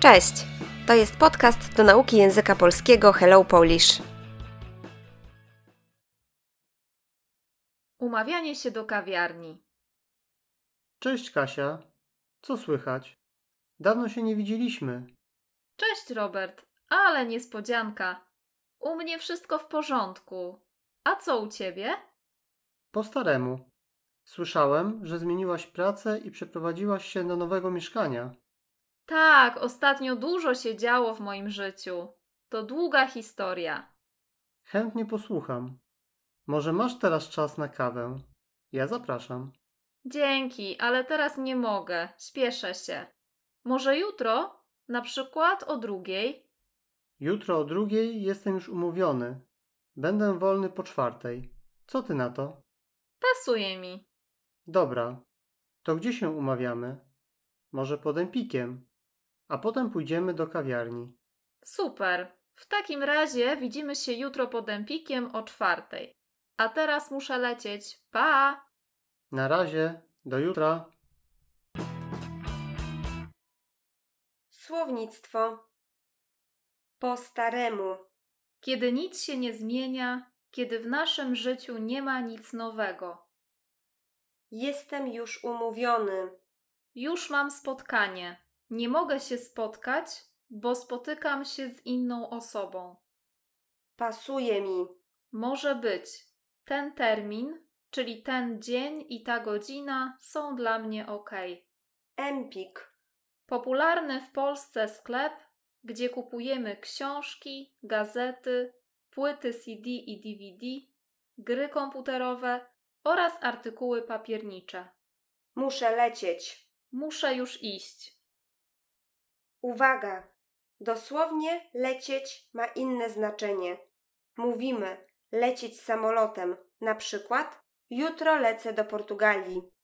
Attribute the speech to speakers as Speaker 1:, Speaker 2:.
Speaker 1: Cześć! To jest podcast do nauki języka polskiego Hello Polish.
Speaker 2: Umawianie się do kawiarni.
Speaker 3: Cześć Kasia, co słychać? Dawno się nie widzieliśmy.
Speaker 2: Cześć Robert, ale niespodzianka. U mnie wszystko w porządku. A co u ciebie?
Speaker 3: Po staremu. Słyszałem, że zmieniłaś pracę i przeprowadziłaś się do nowego mieszkania.
Speaker 2: Tak, ostatnio dużo się działo w moim życiu. To długa historia.
Speaker 3: Chętnie posłucham. Może masz teraz czas na kawę? Ja zapraszam.
Speaker 2: Dzięki, ale teraz nie mogę. Śpieszę się. Może jutro? Na przykład o drugiej?
Speaker 3: Jutro o drugiej jestem już umówiony. Będę wolny po czwartej. Co ty na to?
Speaker 2: Pasuje mi.
Speaker 3: Dobra. To gdzie się umawiamy? Może pod Empikiem. A potem pójdziemy do kawiarni.
Speaker 2: Super. W takim razie widzimy się jutro pod Empikiem o czwartej. A teraz muszę lecieć. Pa!
Speaker 3: Na razie, do jutra.
Speaker 1: Słownictwo po staremu.
Speaker 2: kiedy nic się nie zmienia, kiedy w naszym życiu nie ma nic nowego.
Speaker 1: Jestem już umówiony.
Speaker 2: Już mam spotkanie. Nie mogę się spotkać, bo spotykam się z inną osobą.
Speaker 1: Pasuje mi.
Speaker 2: Może być. Ten termin, czyli ten dzień i ta godzina są dla mnie ok.
Speaker 1: Empik.
Speaker 2: Popularny w Polsce sklep, gdzie kupujemy książki, gazety, płyty CD i DVD, gry komputerowe oraz artykuły papiernicze.
Speaker 1: Muszę lecieć.
Speaker 2: Muszę już iść.
Speaker 1: Uwaga! Dosłownie lecieć ma inne znaczenie. Mówimy lecieć samolotem, na przykład jutro lecę do Portugalii.